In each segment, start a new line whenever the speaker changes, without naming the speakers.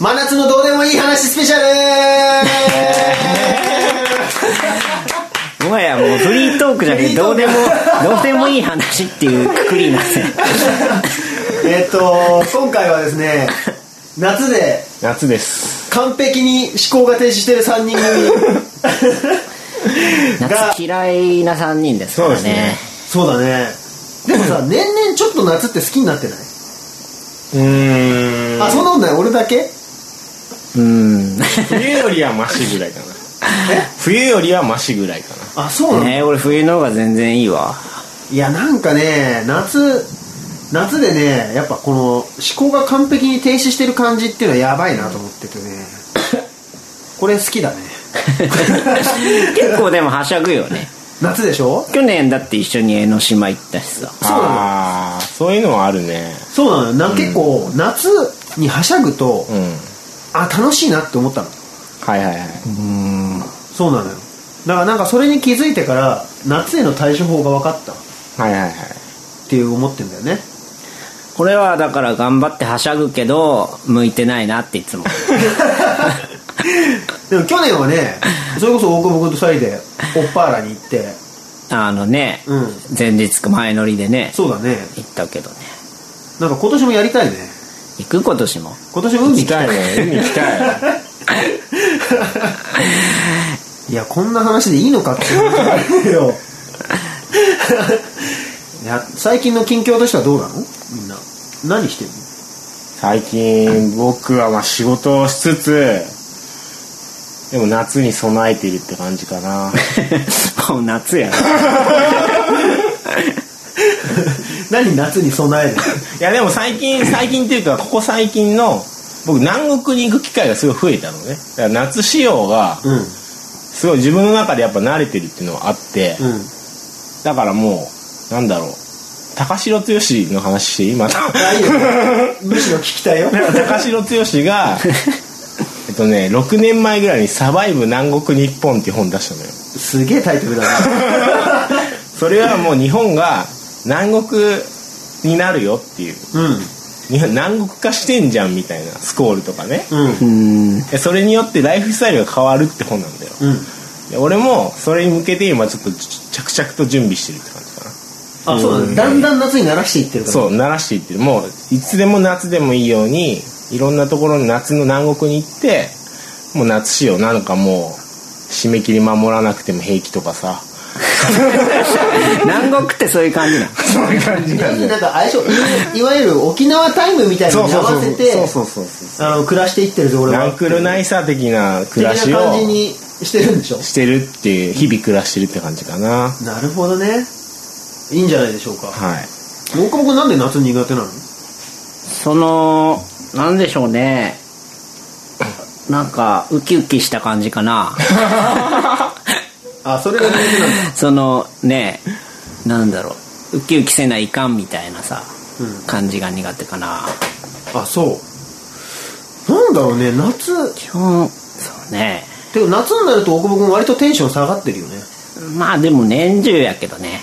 真夏のどうでもいい話スペシャル
もはやもうフリートークじゃなくてどうでもどうでもいい話っていうくくりになって
えっと今回はですね夏で
夏です
完璧に思考が停止してる3人組が
夏嫌いな3人ですから
そうで
ね
そうだねでもさ年々ちょっと夏って好きになってない、
うーん
あそんなことない俺だけ
うん
冬よりはマシぐらいか な冬よりはマシぐらいかな
あそうなの、
ね俺冬の方が全然いい わ
いやなんかね夏夏でねやっぱこの思考が完璧に停止してる感じっていうのはやばいなと思っててねこれ好きだね
結構でもはしゃぐよね
夏でしょ
去年だって一緒に江ノ島行ったしさ
そうなの
あーそういうのはあるね
そうなのよな、結構夏にはしゃぐと、
うん
あ楽しいなって思ったの
はいはいはい
そうなのよだからなんかそれに気づいてから夏への対処法が分かったっ
はいはいはい
ていう思ってんだよね
これはだから頑張ってはしゃぐけど向いてないなって いつも
でも去年はねそれこそ大久保君と2人でオッパーラに行って
あのね、
うん
前日か前乗りでね
そうだね
行ったけどね
なんか今年もやりたいね
行く今年も
今年も海
行
行
き
きた
た
い
いね海行きたい
いやこんな話でいいのかって思うよいや最近の近況としてはどうなのみんな何してるの
最近僕はまあ仕事をしつつでも夏に備えているって感じかな
もう夏や
何夏に備える
いやでも最近最近っていうかここ最近の僕南国に行く機会がすごい増えたのねだから夏仕様が
うんうん
すごい自分の中でやっぱ慣れてるっていうのはあって、だからもうなんだろう高城剛の話して今
あいいよむしろ聞きたいよ
高城剛がえっとね6年前ぐらいに「サバイブ南国日本」っていう本出したのよ
すげえタイトルだな
それはもう日本が南国になるよっていう
うん
日本南国化してんじゃんみたいなスコールとかね
うん
うん
でそれによってライフスタイルが変わるって本なんだよ
うん
で俺もそれに向けて今ちょっと着々と準備してるって感じかな
あそうだねだんだん夏に慣らしていってるから
そう慣らしていってるもういつでも夏でもいいようにいろんなところの夏の南国に行ってもう夏仕様なんかもう締め切り守らなくても平気とかさ
南国ってそういう感じなの
そういう感じなんだよ
なんか相性いいわゆる沖縄タイムみたいな
そ
の
う
に
そ
合
うそ
わ
う
せて
そうそうそうそう
あの暮らしていってるぞ俺は
ランクルナイサー的な暮
的
らし
な感じ
を
にしてるんでしょ
してるっていう日々暮らしてるって感じかな
なるほどねいいんじゃないでしょうか
はい
大久保君なんで夏苦手なの
そのなんでしょうねなんかウキウキした感じか な
あそれが苦手なんだ
そのねなんだろうウキウキせないかんみたいなさ、
う
感じが苦手かな
あそうなんだろうね夏
基本そうね
てか夏になると大久保君割とテンション下がってるよね
まあでも年中やけど ね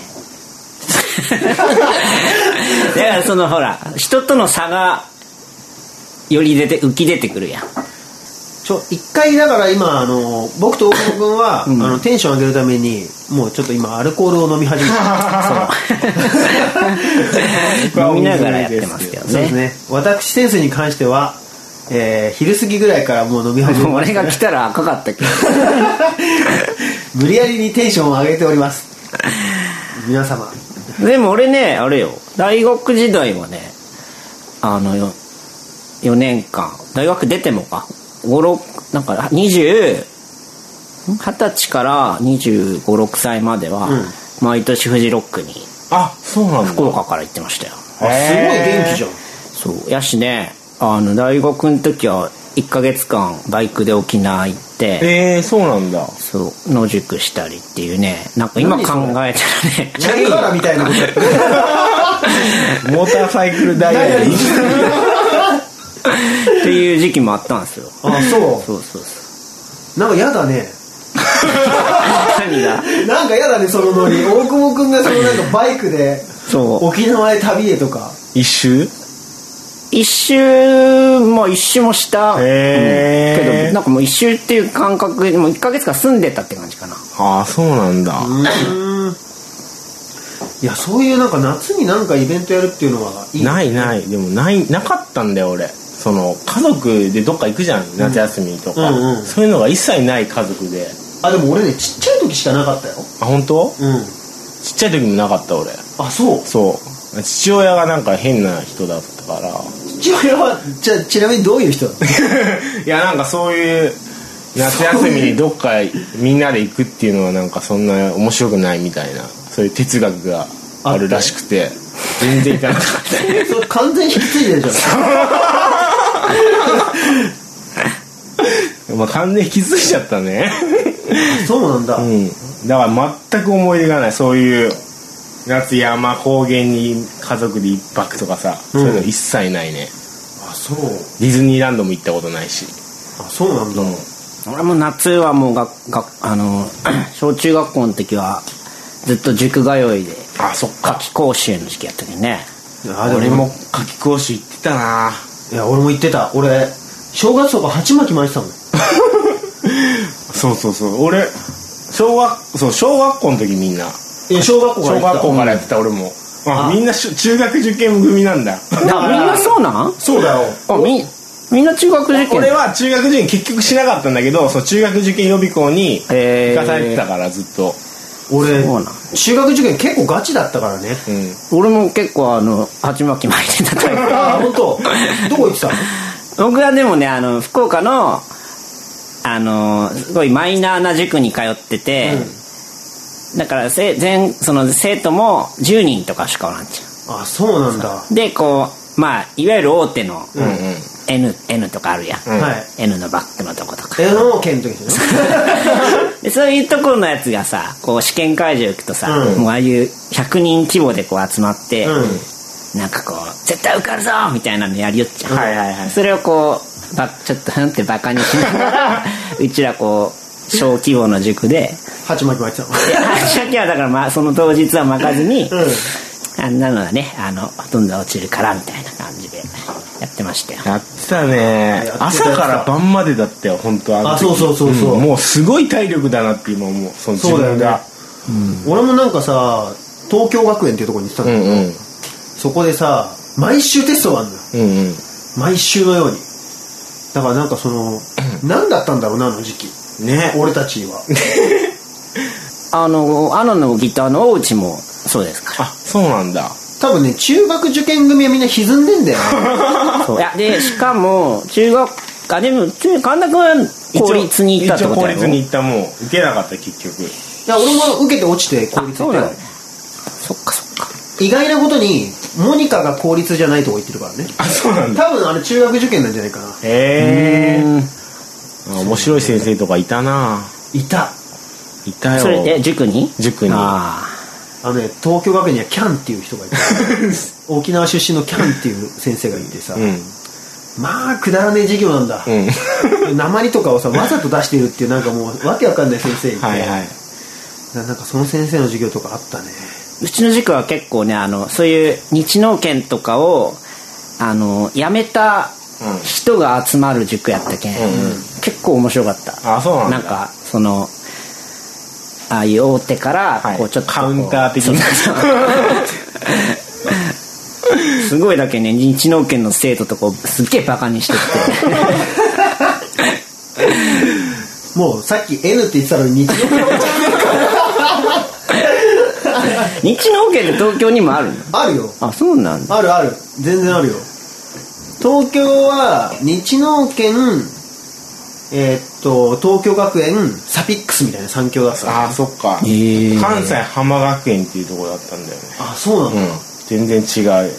だからそのほら人との差がより出て浮き出てくるやん
ちょ一回だから今あの僕と大久保君 は、あのテンション上げるためにもうちょっと今アルコールを飲み始めた
飲みながらやってますけど
そうです
ね
ね私センスに関しては、えー昼過ぎぐらいからもう飲み始め
もう
ま
俺
し
が来たら赤かったけど
無理やりにテンションを上げております皆様
でも俺ねあれよ大学時代はねあのよ4年間大学出てもか56なんか20ん二十歳から2 5 6歳までは、毎年フジロックに
あそうなんだ
福岡から行ってましたよ
あすごい元気じゃん
そうやしねあの大学の時は1ヶ月間バイクで沖縄行って
えー、そうなんだ
そう野宿したりっていうねなんか今考えたらね
チャリガラみたいなこと
モーターサイクルダイアリー
っていう時期もあったんですよ
あそ
そうそうそう
うなんかやだね
何が
なんかやだねそのノリ大久保君がそのなんかバイクで
そう
沖縄へ旅へとか
一周
一周も一周もした、
へー
けどなんかもう一周っていう感覚でもう1ヶ月間住んでたって感じかな
ああそうなんだ、
いやそういうなんか夏になんかイベントやるっていうのはいい
ないないでもないなかったんだよ俺その家族でどっか行くじゃん夏休みとか、
うんうん
そういうのが一切ない家族で
あでも俺ねちっちゃい時しかなかったよ
あ本当
うん
ちっちゃい時もなかった俺
あそう
そう父親がなんか変な人だったから
父親はじゃあちなみにどういう人だったの
いやなんかそういう夏休みにどっかみんなで行くっていうのはなんかそんな面白くないみたいなそういう哲学があるらしくて全然行かなかったよ
それ完全に引き継いでるじゃん
まあ完全に気づいちゃったね
そうなんだ、
うんだから全く思い出がないそういう夏山高原に家族で一泊とかさ、そういうの一切ないね
あそう
ディズニーランドも行ったことないし
あそうなんだ、
俺も夏はもうががあの 小中学校の時はずっと塾通いで
あそっ
夏季講習の時期やったけどね
あでも
俺も夏季講習行ってたない
や俺も言ってた俺正月とか鉢巻き巻いてたもん
そうそうそう俺小学そう小学校の時みんない
や小学校から
小
言って
学
た
校からやってた俺もあ
あ
みんなしゅ中学受験組なんだ
だからみんなそうなん
そうだよ
あみみんな中学受験
俺は中学受験結局しなかったんだけどその中学受験予備校に
へー
行かされてたからずっと、
俺
そうなん
中学受験結構ガチだった からね
うん、
俺も結構あの鉢巻き巻いてたタイプ
あ本当どこ行 ってたの
僕はでもねあの福岡のあのすごいマイナーな塾に通ってて、だからせ全その生徒も10人とかしかおらんじゃ
あそうなんだ、
んでこうまあいわゆる大手の
うん
うん
N,、N とかあるやん、
うん
はい
N のバックのとことか
芸能圏の時ですね
でそういうところのやつがさこう試験会場行くとさ、
うん
もうああいう100人規模でこう集まって、
う
なんかこう絶対受かるぞみたいなのやりよっちゃう、
はいはいはい
それをこうばちょっとふんってバカにしなが らうちらこう小規模の塾で
ん鉢巻き巻いてたの
初期はだから、まあ、その当日は巻かずに、
う
あんなのはねあのほとんど落ちるからみたいな感じでやってましたよ
やってたね
やってた
朝から晩までだったよ本当あの時
あそうそうそうそうん
もうすごい体力だなって今思うその自
そうだよ
分
ね
が
ん俺もなんかさ東京学園っていうところに行ってた
う
の、
んうん
そこでさ毎週テストがあるのよ
うんうん
毎週のようにだからなんかその何だったんだろうなあの時期
ね
俺たちは
あのアナのギターの大内もそうですか
あそうなんだ
多分ね中学受験組はみんな歪んでんだよ
らそういやでしかも中学あでも中神田君は公立に行ったってことだ
一応公立に
よ
行ったもん受けなかった結局
ないや俺も受けて落ちて公
あ
立
そ
行った
うな
よ
んだそっかそっか
意外なことにモニカが公立じゃないとこ行ってるからね
あそうなん
多分あれ中学受験なんじゃないかな
へえ
うん
面白い先生とかいたない
た
いたよ
それで塾に
塾に
あ
あのね東京学園にはキャンっていう人がいて沖縄出身のキャンっていう先生がいてさ、
うん
まあくだらねえ授業なんだ、
うん
鉛とかをさわざと出してるっていうなんかもうわけわかんない先生いて
はいはい
ななんかその先生の授業とかあったね
ーうちの塾は結構ねあのそういう日農研とかをあの辞めた
うん
人が集まる塾やったけん、
うん
結構面白かった
あそうなんだ
なんかそのああいう大手から
はい
こうちょっとこう、
カウンター的な
そうそうそうすごいだけね日農研の生徒とこうすっげえバカにして きて
もうさっき N って言ってたのに日常会話
日農研って東京にもあるの
あるよ
あそうなんだ
あるある全然あるよ東京は日農研えーっと東京学園サピックスみたいな三強だった
あそっか関
へえ
西浜学園っていうところだったんだよね
あそうなの、
うん全然違う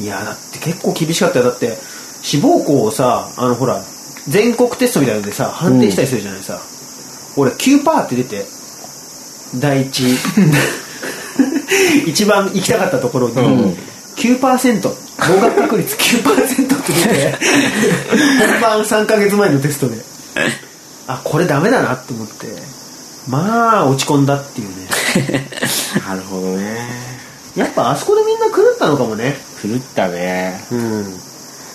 いやだって結構厳しかったよだって志望校をさあのほら全国テストみたいなのでさ判定したりするじゃないさ、俺9%って出て第 一一番行きたかったところに、
うん
9%合格確率9%って出て本番3ヶ月前のテストであこれダメだなって思ってまあ落ち込んだっていうね
なるほどね
やっぱあそこでみんな狂ったのかもね
狂ったね
うん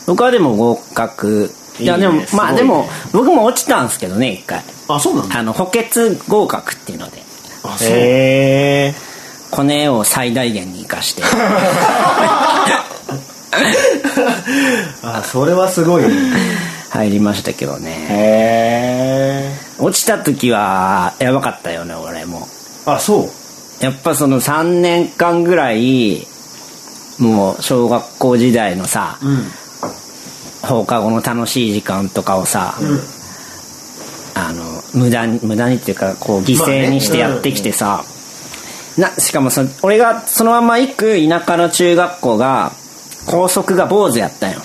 僕はでも合格いや
いいね
でも
すごい
まあ
ね
でも僕も落ちたんですけどね一回
あそうなんだ
あの補欠合格っていうので
あそう
へえ
コネを最大限に生か して
あそれはすごいね
入りましたけどね
へえ
落ちた時はやばかったよね俺も
あそう
やっぱその3年間ぐらいもう小学校時代のさ
うん
放課後の楽しい時間とかをさ、あの無駄に無駄にっていうかこう犠牲にしてやってきてさ、なしかもその俺がそのまま行く田舎の中学校が校則が坊主やったんよ、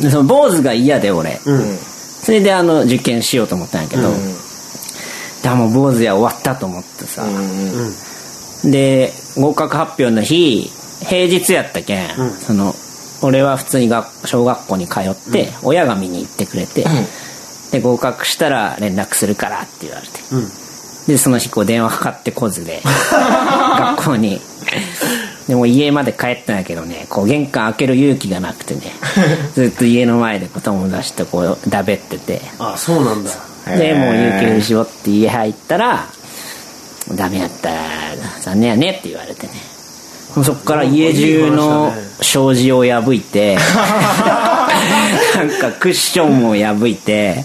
でその坊主が嫌で俺、
うん
それであの受験しようと思ったんやけど、だもう坊主や終わったと思ってさ、
うんうん
で合格発表の日平日やったけん、その俺は普通に学小学校に通って、親が見に行ってくれて、で合格したら連絡するからって言われて、
うん
でその日こう電話かかってこずで学校にでも家まで帰ったんやけどねこう玄関開ける勇気がなくてねずっと家の前でこう友達とこうだべってて
あそうなんだ
で
へー
もう有給にしようって家入ったら「ダメやった残念やね」って言われてねもうそっから家中の障子を破いて なんかクッションも破いて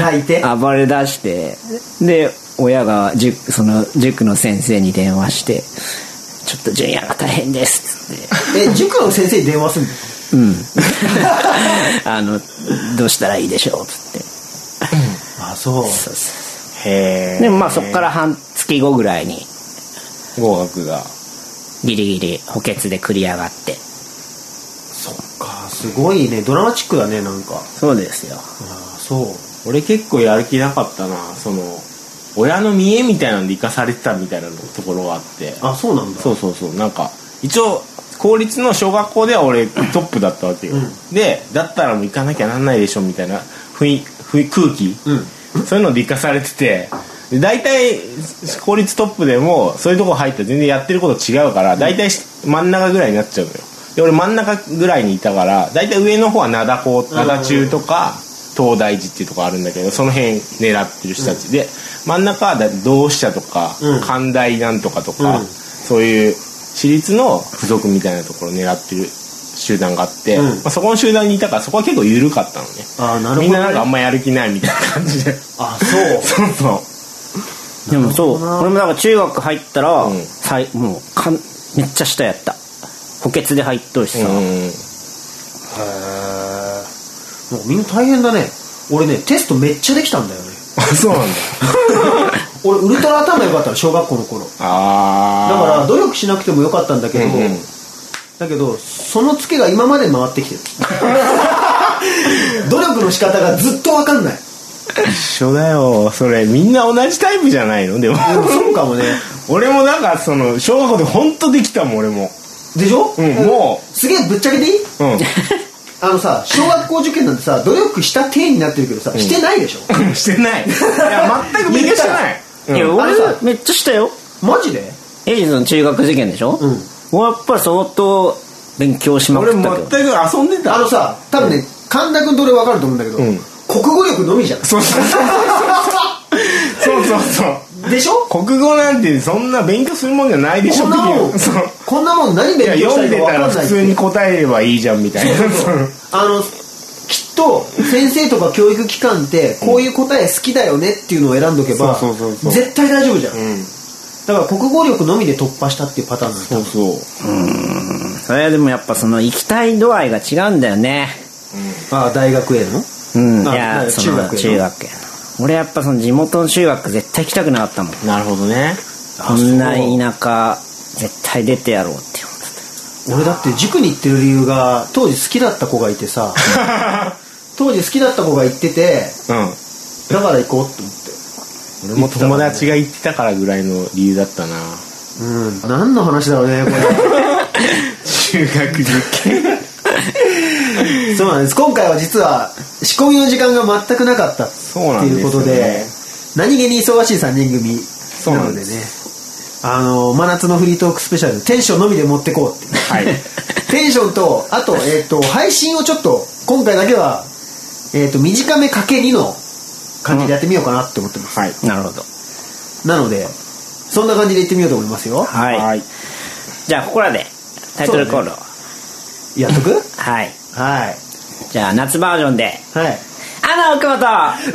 泣いて
暴れ出してで親が塾その塾の先生に電話して「ちょっと純也が大変です」っつって
え塾の先生に電話するの
うん、あのどうしたらいいでしょうっつって
あそう
そうそ
へ
う
え
でもまあそっから半月後ぐらいに
合格が
ギリギリ補欠で繰り上がって
そっかすごいねドラマチックだねなんか
そうですよ
あそ
俺結構やる気なかったなその親の見栄みたいなので生かされてたみたいなところがあって
うあそうなんだ
そうそうそうなんか一応公立の小学校では俺トップだったわけよ、でだったらもう行かなきゃなんないでしょみたいな雰囲雰囲空気、
うん
そういうので生かされててで大体公立トップでもそういうとこ入ったら全然やってること違うから大体真ん中ぐらいになっちゃうのよで俺真ん中ぐらいにいたから大体上の方は灘高灘中とか東大寺っていうとこあるんだけどその辺狙ってる人たちで真ん中はだ同志社とか
うん
寛大なんとかとか、
うん
そういう私立の付属みたいなところを狙ってる集団があって、
うん
まあ、そこの集団にいたからそこは結構緩かったのね
あなるほどね
みんななんかあんまやる気ないみたいな感じで
あそう
そうそう
でもそ
なるほ
う
どな
俺もなんか中学入ったら、
うん
さいもうかんめっちゃ下やった補欠で入っとるしさ、
うん
へえもうみんな大変だね俺ねテストめっちゃできたんだよね
あそうなんだ
俺ウルトラ頭良かったの小学校の頃だ
ああ
から努力しなくてもよかったんだけど、
うんうん
だけどそのツケが今まで回ってきてる 努力の仕方がずっと分かんない
一緒だよそれみんな同じタイプじゃないのでも
でもそうかもね
俺もなんかその小学校で本当できたもん俺も
でしょ、
うんも
すげえぶっちゃけていいう
うん
あのさ小学校受験なんてさ努力した体になってるけどさ、してないでしょ
して ないいや全く勉強してない
いや
うん
あの
俺
さ
めっちゃ下よ
マジで
エイジの中学受験でしょ、
うん
俺やっぱ相当勉強しまく
俺
った
全
けど
く遊んでた
あのさ多分ね、神田君と俺分かると思うんだけど、
ん
国語力のみじ ゃん
そうそうそうそうそうそう
でしょ
国語なんてそんな勉強するもんじゃないでしょ
こんなもん
そう
こんなもん何
いや
勉強し
読
た
ん
い
で
か
た
分
ら
かんない
普
って
通に答えればいいじゃんみたいな
あのきっと先生とか教育機関ってこういう答え好きだよねっていうのを選んどけば
そうそうそうそう
絶対大丈夫じゃん、
ん
だから国語力のみで突破したっていうパターンなんだ
そうそう
それはでもやっぱその行きたい度合いが違うんだよね
ああ大学への
うんい
あ
や
あ
そ
中学
の
やな
中学やな俺やっぱその地元の中学絶対行きたくなかったもん
なるほどね
こんな田舎絶対出てやろうって思っ
俺
て
だって塾に行ってる理由が当時好きだった子がいてさ 当時好きだった子が行ってて
うん
だから行こうと思って
俺も友達が言ってたからぐらいの理由だったな
うん何の話だろうねこ
中学受験
れそうなんです今回は実は仕込みの時間が全くなかったって
そうなん
い
で
う
すよ
こ
ね
とで何気に忙しい3人組なのでね
うなんで
あの真夏のフリートークスペシャルテンションのみで持ってこうって いう
はい
テンションとあと,、えー、と配信をちょっと今回だけは、えー、と短めかけ2の感じでやってみようかなって思ってます、
はい
なるほど。
なのでそんな感じでいってみようと思いますよ
はい。
はい
じゃあ、ここらで、タイトルコールを。
やっとく
はい。
はい
じゃあ、夏バージョンで、
はい
アナ奥本
ビギ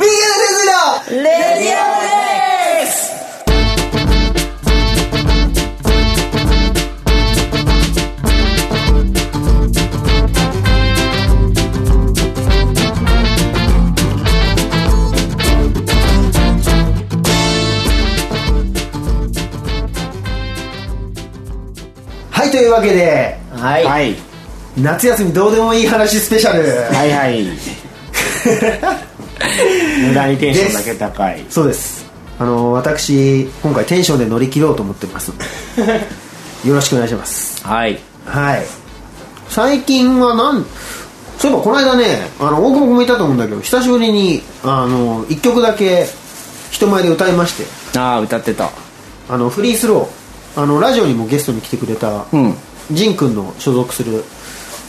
ナー先生の
レディオです
はいというわけで
はい。
はい
夏休みどうでもいい話スペシャル
はいはい無駄に テンションだけ高い
そうですあの私今回テンションで乗り切ろうと思って ますよろしくお願いします
はい。
はい最近はなんそういえばこの間ねあの大久保君もいたと思うんだけど久しぶりにあの1曲だけ人前で歌いまして
ああ、歌ってた。
あのフリースローあのラジオにもゲストに来てくれた、
うん。
ジン君の所属する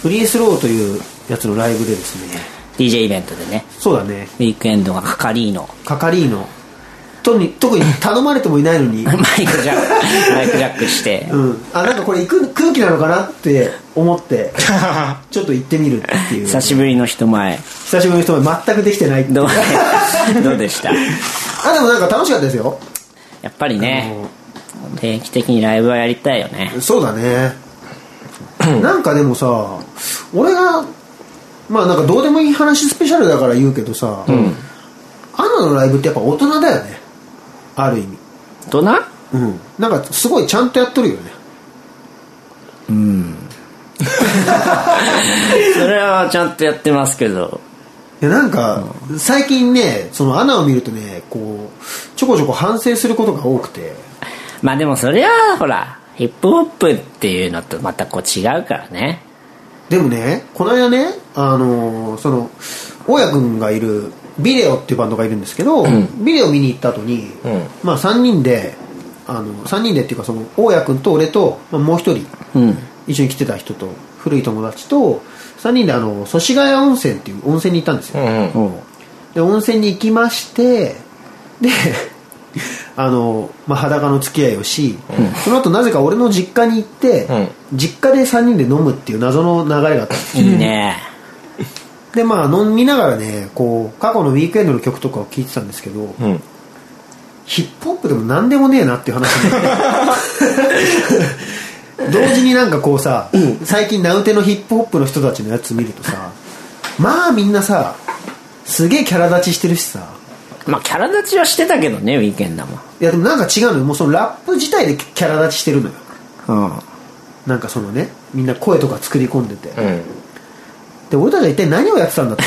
フリースローというやつのライブでですね
DJ イベントでね、
そうだね
ウィークエンドが係員の。
係のとに特に頼まれてもいないのに
マイクジャッ ク、マイクジャックして。
うん、あなんかこれ行く空気なのかなって思って ちょっと行ってみるっていう
久しぶりの人前。
久しぶりの人が全くできてないって
どうどうでした
あでもなんか楽しかったですよ
やっぱりね、定期的にライブはやりたいよね。
そうだ ねなんかでもさ俺がまあなんかどうでもいい話スペシャルだから言うけどさ、アナのライブってやっぱ大人だよねある意味
大人
うんなんかすごいちゃんとやっとるよね
それはちゃんとやってますけど。
いやなんか最近ねそのアナを見るとねこうちょこちょこ反省することが多くて
まあでもそれは、ほら、ヒップホップっていうのとまたこう違うからね。
でもねこの間ねあのーその大家君がいるビデオっていうバンドがいるんですけど、ビデオ見に行った後に、
うん
まあ3人であの3人でっていうかその大家君と俺と、まあもう一人
うん。
一緒に来てた人と古い友達と3人であの祖師ヶ谷温泉っていう温泉に行ったんですよ、
うんうん
で温泉に行きましてで あの、まあ、裸の付き合いをし、その後なぜか俺の実家に行って、実家で3人で飲むっていう謎の流れがあったんです
いいね。
でまあ飲みながらねこう過去のウィークエンドの曲とかを聴いてたんですけど、
うん
ヒップホップでも何でもねえなっていう話になって 同時になんかこうさ、最近名うてのヒップホップの人たちのやつ見るとさまあみんなさすげえキャラ立ちしてるしさ
まあキャラ立ちはしてたけどね、ウィーケンドも。
いやでもなんか違うのよもうそのラップ自体でキャラ立ちしてるのよ
うん。
なんかそのねみんな声とか作り込んでて、
うん
で俺たちは一体何をやってたんだと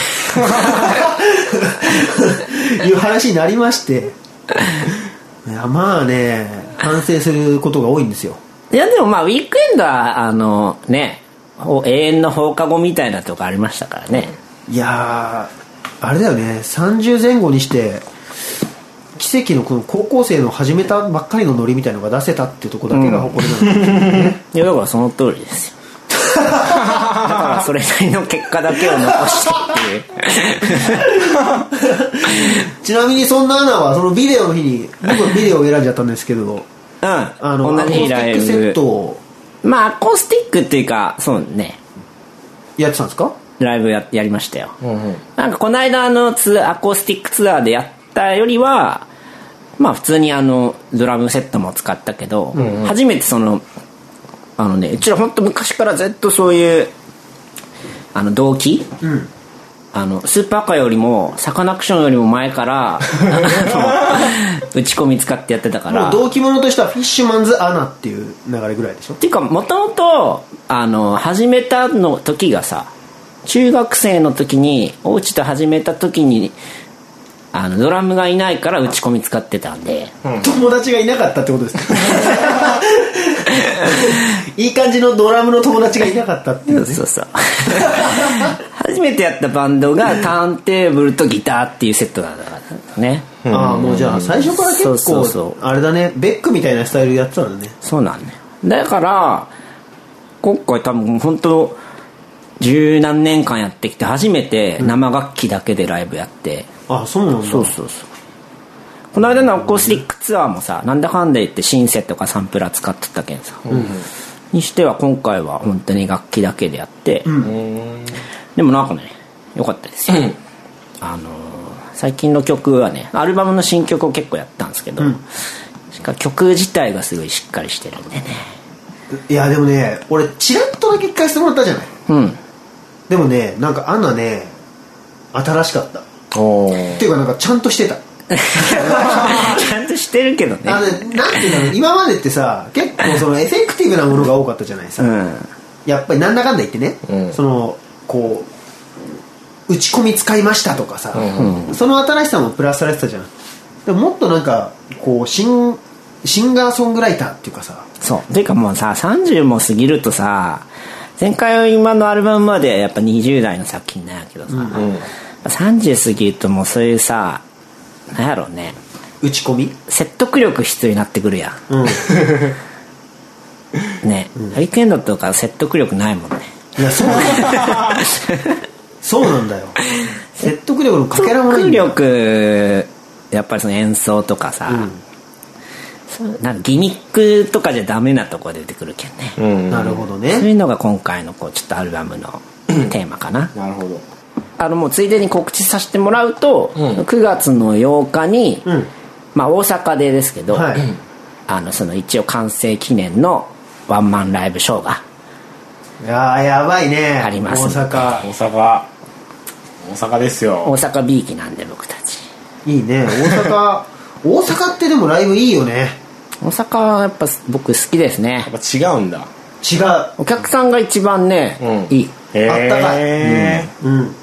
いう話になりましていやまあね反省することが多いんですよ
いやでもまあウィークエンドはあのねほ永遠の放課後みたいなとこありましたからね
いやーあれだよね30前後にして奇跡のこの高校生の始めたばっかりのノリみたいのが出せたっていうところだけが誇りなの、
いやだからその通りですよだからそれなりの結果だけを残した っていう
ちなみにそんなアナはそのビデオの日に僕はビデオを選んじゃったんですけど
うん
あの
同じ
アコー
ライ
スティックセット
ブ
を
まあアコースティックっていうかそうね
やってたんですか
ライブややりましたよ、
うんうん
なんかこの間あのツアーアコースティックツアーでやったよりはまあ普通にあのドラムセットも使ったけど、初めてそのあのねうちら本当昔からずっとそういうあの動機
うん
あのスーパーカーよりもサカナクションよりも前から あの打ち込み使ってやってたから
もう同期者としてはフィッシュマンズアナっていう流れぐらいでしょ
っていうかもともとあの始めたの時がさ中学生の時におうちと始めた時にあのドラムがいないから打ち込み使ってたんで
友達がいなかったってことですねいい感じのドラムの友達がいなかったっていうね
そうそう 初めてやったバンドがターンテーブルとギターっていうセットなんだからね
ああもうじゃあ最初から結構
そうそうそ
あれだねベックみたいなスタイルやってたんだね
そうなんねだから今回多分本当十何年間やってきて初めて生楽器だけでライブやって、
ああそうなんだ
そうそうそうこの間のアコースティックツアーもさなんだかんだ言ってシンセとかサンプラー使ってたけんさ、にしては今回は本当に楽器だけでやって、でもなんかね良かったですよ、あのー最近の曲はねアルバムの新曲を結構やったんですけど、しか曲自体がすごいしっかりしてるんでね
いやでもね俺チラッとだけ聞かせてもらったじゃない
うん
でもねなんかアンナね新しかったっ
おー
ていうかなんかちゃんとしてた
ちゃんとしてるけどね
あのねなんていうの今までってさ結構そのエフェクティブなものが多かったじゃないさ、
うん
やっぱりなんだかんだ言ってね、
うん
そのこう打ち込み使いましたとかさ、
う
その新しさもプラスされてたじゃんでももっとなんかこうシンシンガーソングライターっていうかさ
そうていうかもうさ30も過ぎるとさ前回は今のアルバムまでやっぱ20代の作品なんやけどさ、
うん
30過ぎるともうそういうさなんやろうね
打ち込み
説得力必要になってくるや
うんい
んね、ハリケーンドとか説得力ないもんね
やそうなんだよそうなんだよ説得力のかけらもない
説
ん
得
だよ
力やっぱりその演奏とかさ、そうなんかギミックとかじゃダメなとこ出てくるけんね、
うん
なるほど
そう
ね
いうのが今回のこうちょっとアルバムのテーマかな、
なるほど
あのもうついでに告知させてもらうと、
うん
9月の8日に、
うん
まあ、大阪でですけど、
はい
あのその一応完成記念のワンマンライブショーが
いやーやばいね
ありますね
大阪
大阪大阪です
大
よ
阪 B 期なんで僕たち
いいね大 阪大阪ってでもライブいいよね
大阪はやっぱ僕好きですね
やっぱ違うんだ
違う
お客さんが一番ね、
うん
いい
へー
あったかいうん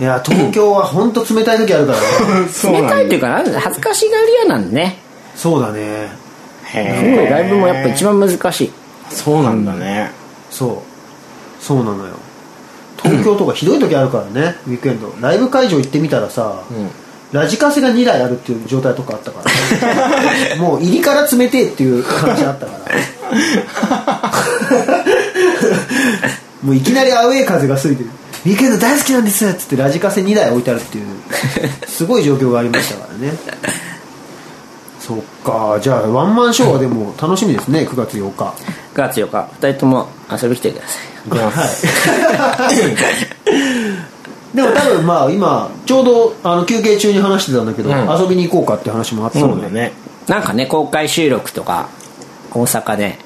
いや東京は本当冷たい時ある からね
そう
冷
なんだ
たいというかなんだ恥ずかしがり屋なんでね
そうだね
す
へ
ごい
え
ライブもやっぱ一番難しい
そうなんだね
そうそうなのよ東京とかひどい時あるからねウィークエンドライブ会場行ってみたらさ、
ん
ラジカセが2台あるっていう状態とかあったか ら、ね、もう入りから冷てえっていう感じあったからもういきなりアウェー風が吹いてる「ウィークエンド大好きなんです」っつってラジカセ2台置いてあるっていうすごい状況がありましたからねそっかじゃあワンマンショーはでも楽しみですね9月8日
9月4日2人とも遊びに来てください
行きます
はい。でも多分まあ今ちょうどあの休憩中に話してたんだけど、
うん
遊びに行こうかって話もあった
そ
の
う
で、
だね
なんかね公開収録とか大阪で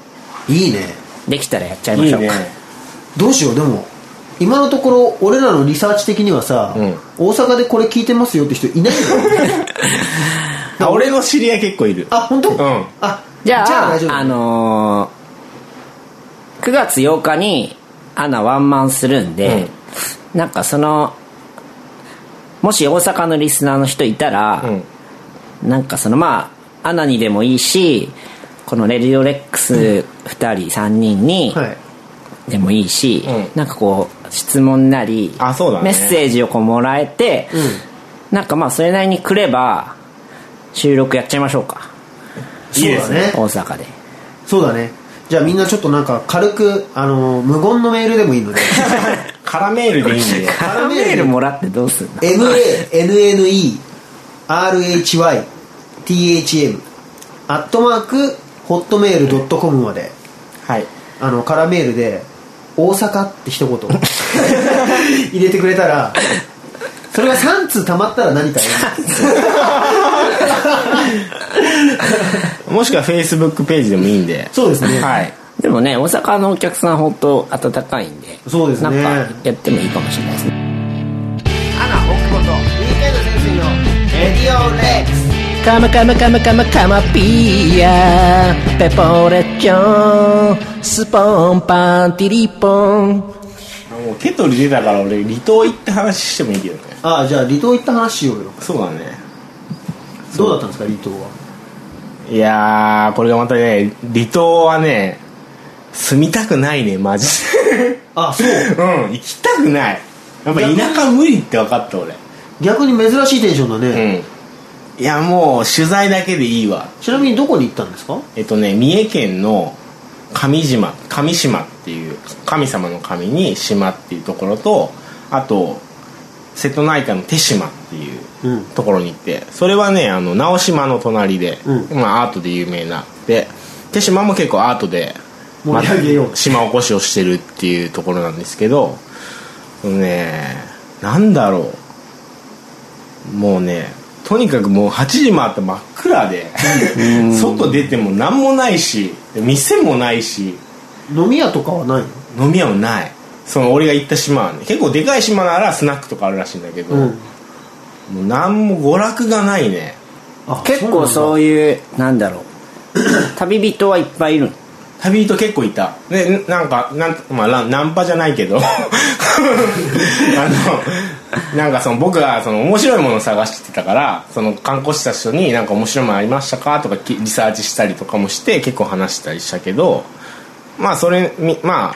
いいね
できたらやっちゃいま
い
し
い
ょうか
ね
どうしようでも今のところ俺らのリサーチ的にはさ、
うん
大阪でこれ聞いてますよって人いない よね
あ俺の知り合い結構いる
あ本当、
ん
あ
じゃあ
大丈夫
あのー、9月8日にアナワンマンするんで、なんかそのもし大阪のリスナーの人いたら、
うん
なんかそのまあアナにでもいいしこのレディオレックス2人3人に
はい
でもいいし、
うん
なんかこう質問なり
あそうだね
メッセージをこうもらえて、なんかまあそれなりに来れば収録やっちゃいましょうか
いいですね
そうだね
大阪で
そうだねじゃあみんなちょっとなんか軽くあの無言のメールでもいい ので
カラメールでいいんだよ
カラメールもらってどうすんの
MANNERHYTHM アットマークホットメールドットコムまで
はい
あのカラーメールで「大阪」って一言入れてくれたらそれが3通たまったら何かや
もしくはフェイスブックページでもいいんで
そうですね
はい
でもね大阪のお客さん本当温かいんで
そうですね
なんかやってもいいかもしれないですね
アナ北本ウィーケンド先生のレディオレックス
カマカマカマカマカマピーヤペポレッチョンスポンパンティリポン
もうケトル出たから俺離島行って話してもいいけどね
ああじゃあ離島行った話しようよ
そうだね
どうだったんですか離島は
いやーこれがまたね離島はね住みたくないねマジで
あそう
うん行きたくないやっぱ田舎無理って分かった俺
逆に珍しいテンションだね、
うんいやもう取材だけでいいわ
ちなみにどこに行ったんですか
えっとね三重県の上島上島っていう神様の神に島っていうところとあと瀬戸内海の手島っていう
うん
ところに行ってそれはねあの直島の隣で、
う
まあ、アートで有名なで手島も結構アートで
盛り上げよう
まあ島おこしをしてるっていうところなんですけどあのねなんだろうもうねとにかくもう8時回って真っ暗で外出ても何もないし店もないし
飲み屋とかはないの
飲み屋もないその俺が行った島はね結構でかい島ならスナックとかあるらしいんだけど、
うん
もう何も娯楽がないね
あ
結
そ
構
う
そういうなん だろう旅人はいっぱいいるの
旅人結構いたでなんかなん、まあラン、ナンパじゃないけ どあのなんかその僕はその面白いものを探してたからその観光した人に「なんか面白いものありましたか?」とかきリサーチしたりとかもして結構話したりしたけどまあそれみまあ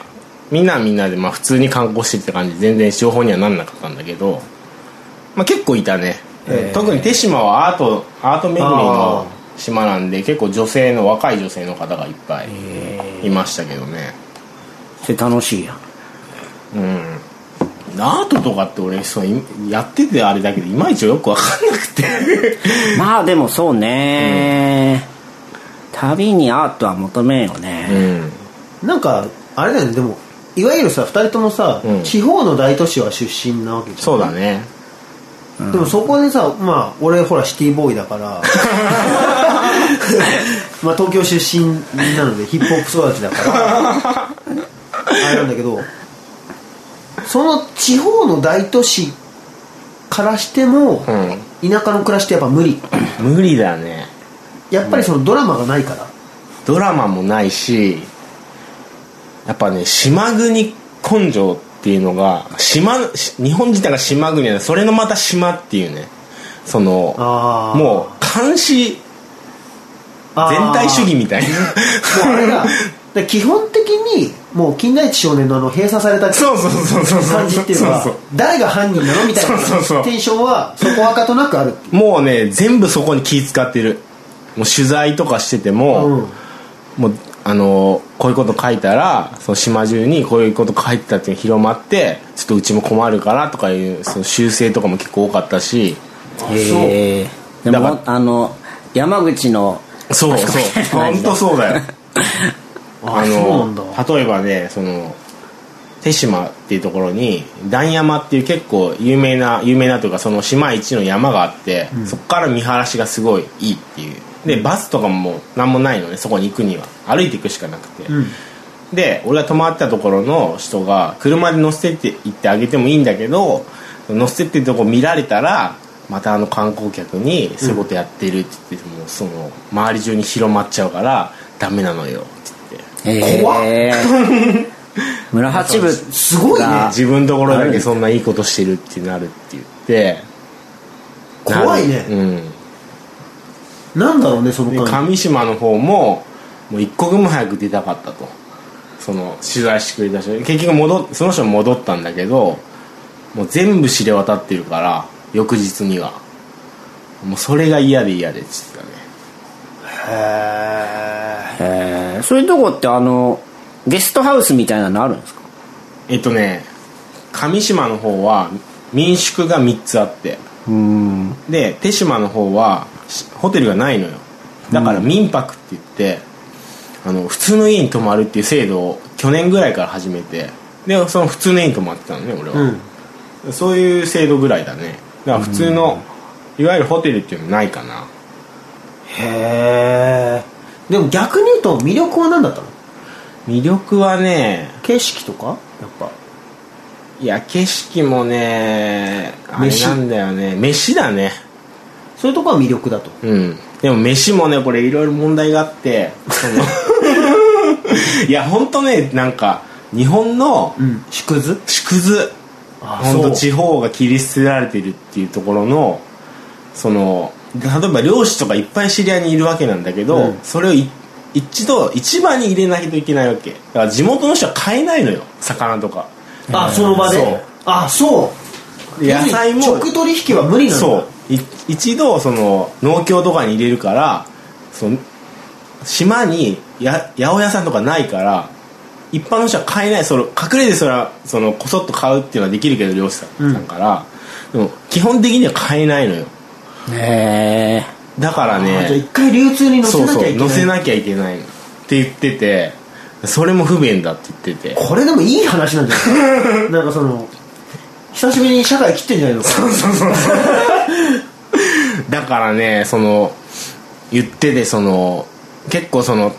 みんなはみんなでまあ普通に観光してって感じ全然情報にはなんなかったんだけど、まあ、結構いたね、特に手島はアートアート巡りの島なんで結構女性の若い女性の方がいっぱいいましたけどね
それ楽しいやん
うんアートとかって俺そういやっててあれだけどいまいちよく分かんなくて
まあでもそうね、旅にアートは求めんよね、
うん
なんだなんかあれだよねでもいわゆるさ2人ともさ、
うん
地方の大都市は出身なわけじゃん
そうだね
でもそこでさまあ俺ほらシティボーイだからまあ東京出身なのでヒップホップ育ちだからあれなんだけどその地方の大都市からしても、
うん
田舎の暮らしってやっぱ無理
無理だね
やっぱりそのドラマがないから、
ドラマもないしやっぱね島国根性っていうのが島日本自体が島国なんでそれのまた島っていうねその
あー
もう監視
あー
全体主義みたいな
もうあれだで基本的にもう金田一少年のあの閉鎖された
そうそうそうそうそう
感じっていうのは
そうそう
誰が犯人なのみたいな
そうそうそう
テンションはそこはかとなくあるってい
もうね全部そこに気使ってるもう取材とかしてても、
う、うん
もうあのこういうこと書いたらその島中にこういうこと書いてたっていうの広まってちょっとうちも困るからとかいうその修正とかも結構多かったし
へえで
だ
も
から
あの山口の
そうそう本当そうだよ
あそうなんだ
例えばねその手島っていうところに段山っていう結構有名な有名なというかその島一の山があって、そこから見晴らしがすごいいいっていうでバスとかも何もないのねそこに行くには歩いていくしかなくて、
うん
で俺が泊まったところの人が車で乗せてって行ってあげてもいいんだけど乗せてってとこ見られたらまたあの観光客にそういうことやってるって言って、もうその周り中に広まっちゃうからダメなのよって言って
怖っ
え村八部す
ごいね
が
自分のところだけそんないいことしてるってなるって言って
怖い
なる
ね
うん
なんだろうねそ
で
の感
上島の方ももう一刻も早く出たかったとその取材してくれた人結局戻っその人も戻ったんだけどもう全部知れ渡ってるから翌日にはもうそれが嫌で嫌でっつってたね
じへ
えーそういうとこってあのゲストハウスみたいなのあるんですか
えっとね上島の方は民宿が3つあって
うん
で手島の方はしホテルがないのよだから民泊って言って、あの普通の家に泊まるっていう制度を去年ぐらいから始めてでその普通の家に泊まってたのね俺
えう
は、
ん
そういう制度ぐらいだねだから普通の、いわゆるホテルっていうのないかな
へえでも逆に言うと魅力は何だったの
魅力はね
景色とかやっぱ
いや景色もねあれ
飯
なんだよね飯だね
そういうとこは魅力だと
うん、でも飯もねこれいろいろ問題があってその いや本当ねなんか日本の
うん縮図
縮図
あ
本
そ
当
う
地方が切り捨てられてるっていうところのその例えば漁師とかいっぱい知り合いにいるわけなんだけど、
うん
それをい一度市場に入れないといけないわけだから地元の人は買えないのよ魚とか
あその場で
そう
あそう
野菜も
直取引は無理なんだ
そうい一度その農協とかに入れるからその島にや八百屋さんとかないから一般の人は買えないその隠れてそれはそのこそっと買うっていうのはできるけど漁師さんさんから、でも基本的には買えないのよ
へえ
だから
あじゃあ
ね
一回流通に乗せ
そう
なきゃい
そう
けない
載せなきゃいけないのって言っててそれも不便だって言ってて
これでもいい話なんじゃな いなんかその久しぶりに社会切ってんじゃないのか
だからねその言っててその結構その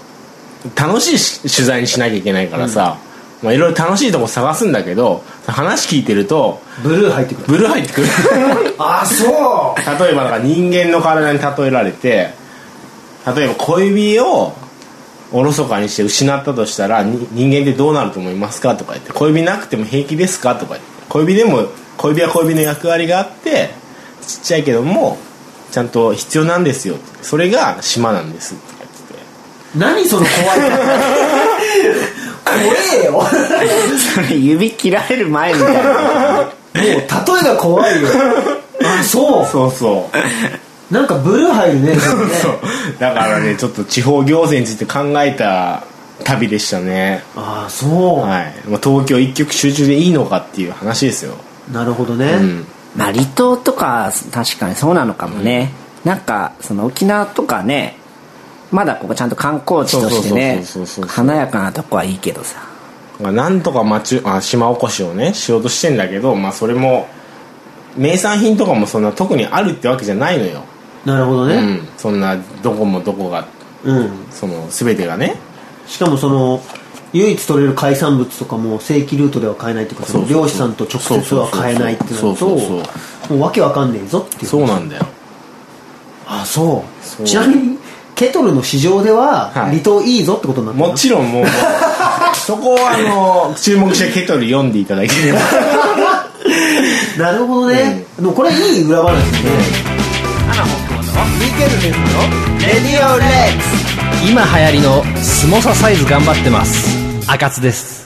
楽しいし取材にしなきゃいけないからさ、まあいろいろ楽しいとこ探すんだけど話聞いてると
ブルー入ってくる
ブルー入ってくる
あそう
例えばなんか人間の体に例えられて例えば小指をおろそかにして失ったとしたらに人間ってどうなると思いますかとか言って小指なくても平気ですかとか言って小指でも小指は小指の役割があってちっちゃいけどもちゃんと必要なんですよってそれが島なんですとか言ってて
何その怖い感じ怖えよ
それ 指切られる前みたい な
もう例えが怖 いよあそう
そうそう
なんかブルー入るねそれね
そうだからねちょっと地方行政について考えた旅でしたね
あそう、
はい、まあ、東京一極集中でいいのかっていう話ですよ
なるほどね、
うん
まあ離島とか確かにそうなのかもね、なんかその沖縄とかねまだここちゃんと観光地としてね
そうそうそうそうそうそう
華やかなとこはいいけどさ
まあ、なんとか町あ島おこしをねしようとしてんだけど、まあ、それも名産品とかもそんな特にあるってわけじゃないのよ、
なるほど
う
ね
ん、そんなどこもどこが
うん、
その全てがね
しかもその唯一取れる海産物とかも正規ルートでは買えないというかその
そうそうそう
漁師さんと直接は買えないってなると
そうそうそう
もうわけわかんねえぞっていう
そうなんだよ
あそう
そう
ちなみにケトルの市場では
はい
離島いいぞってことになってる
もちろんもう そこはあの注目してケトル読んでいただければ
なるほどね、でもこれいい裏話ですね
今流行りのスモササイズ頑張ってます赤津です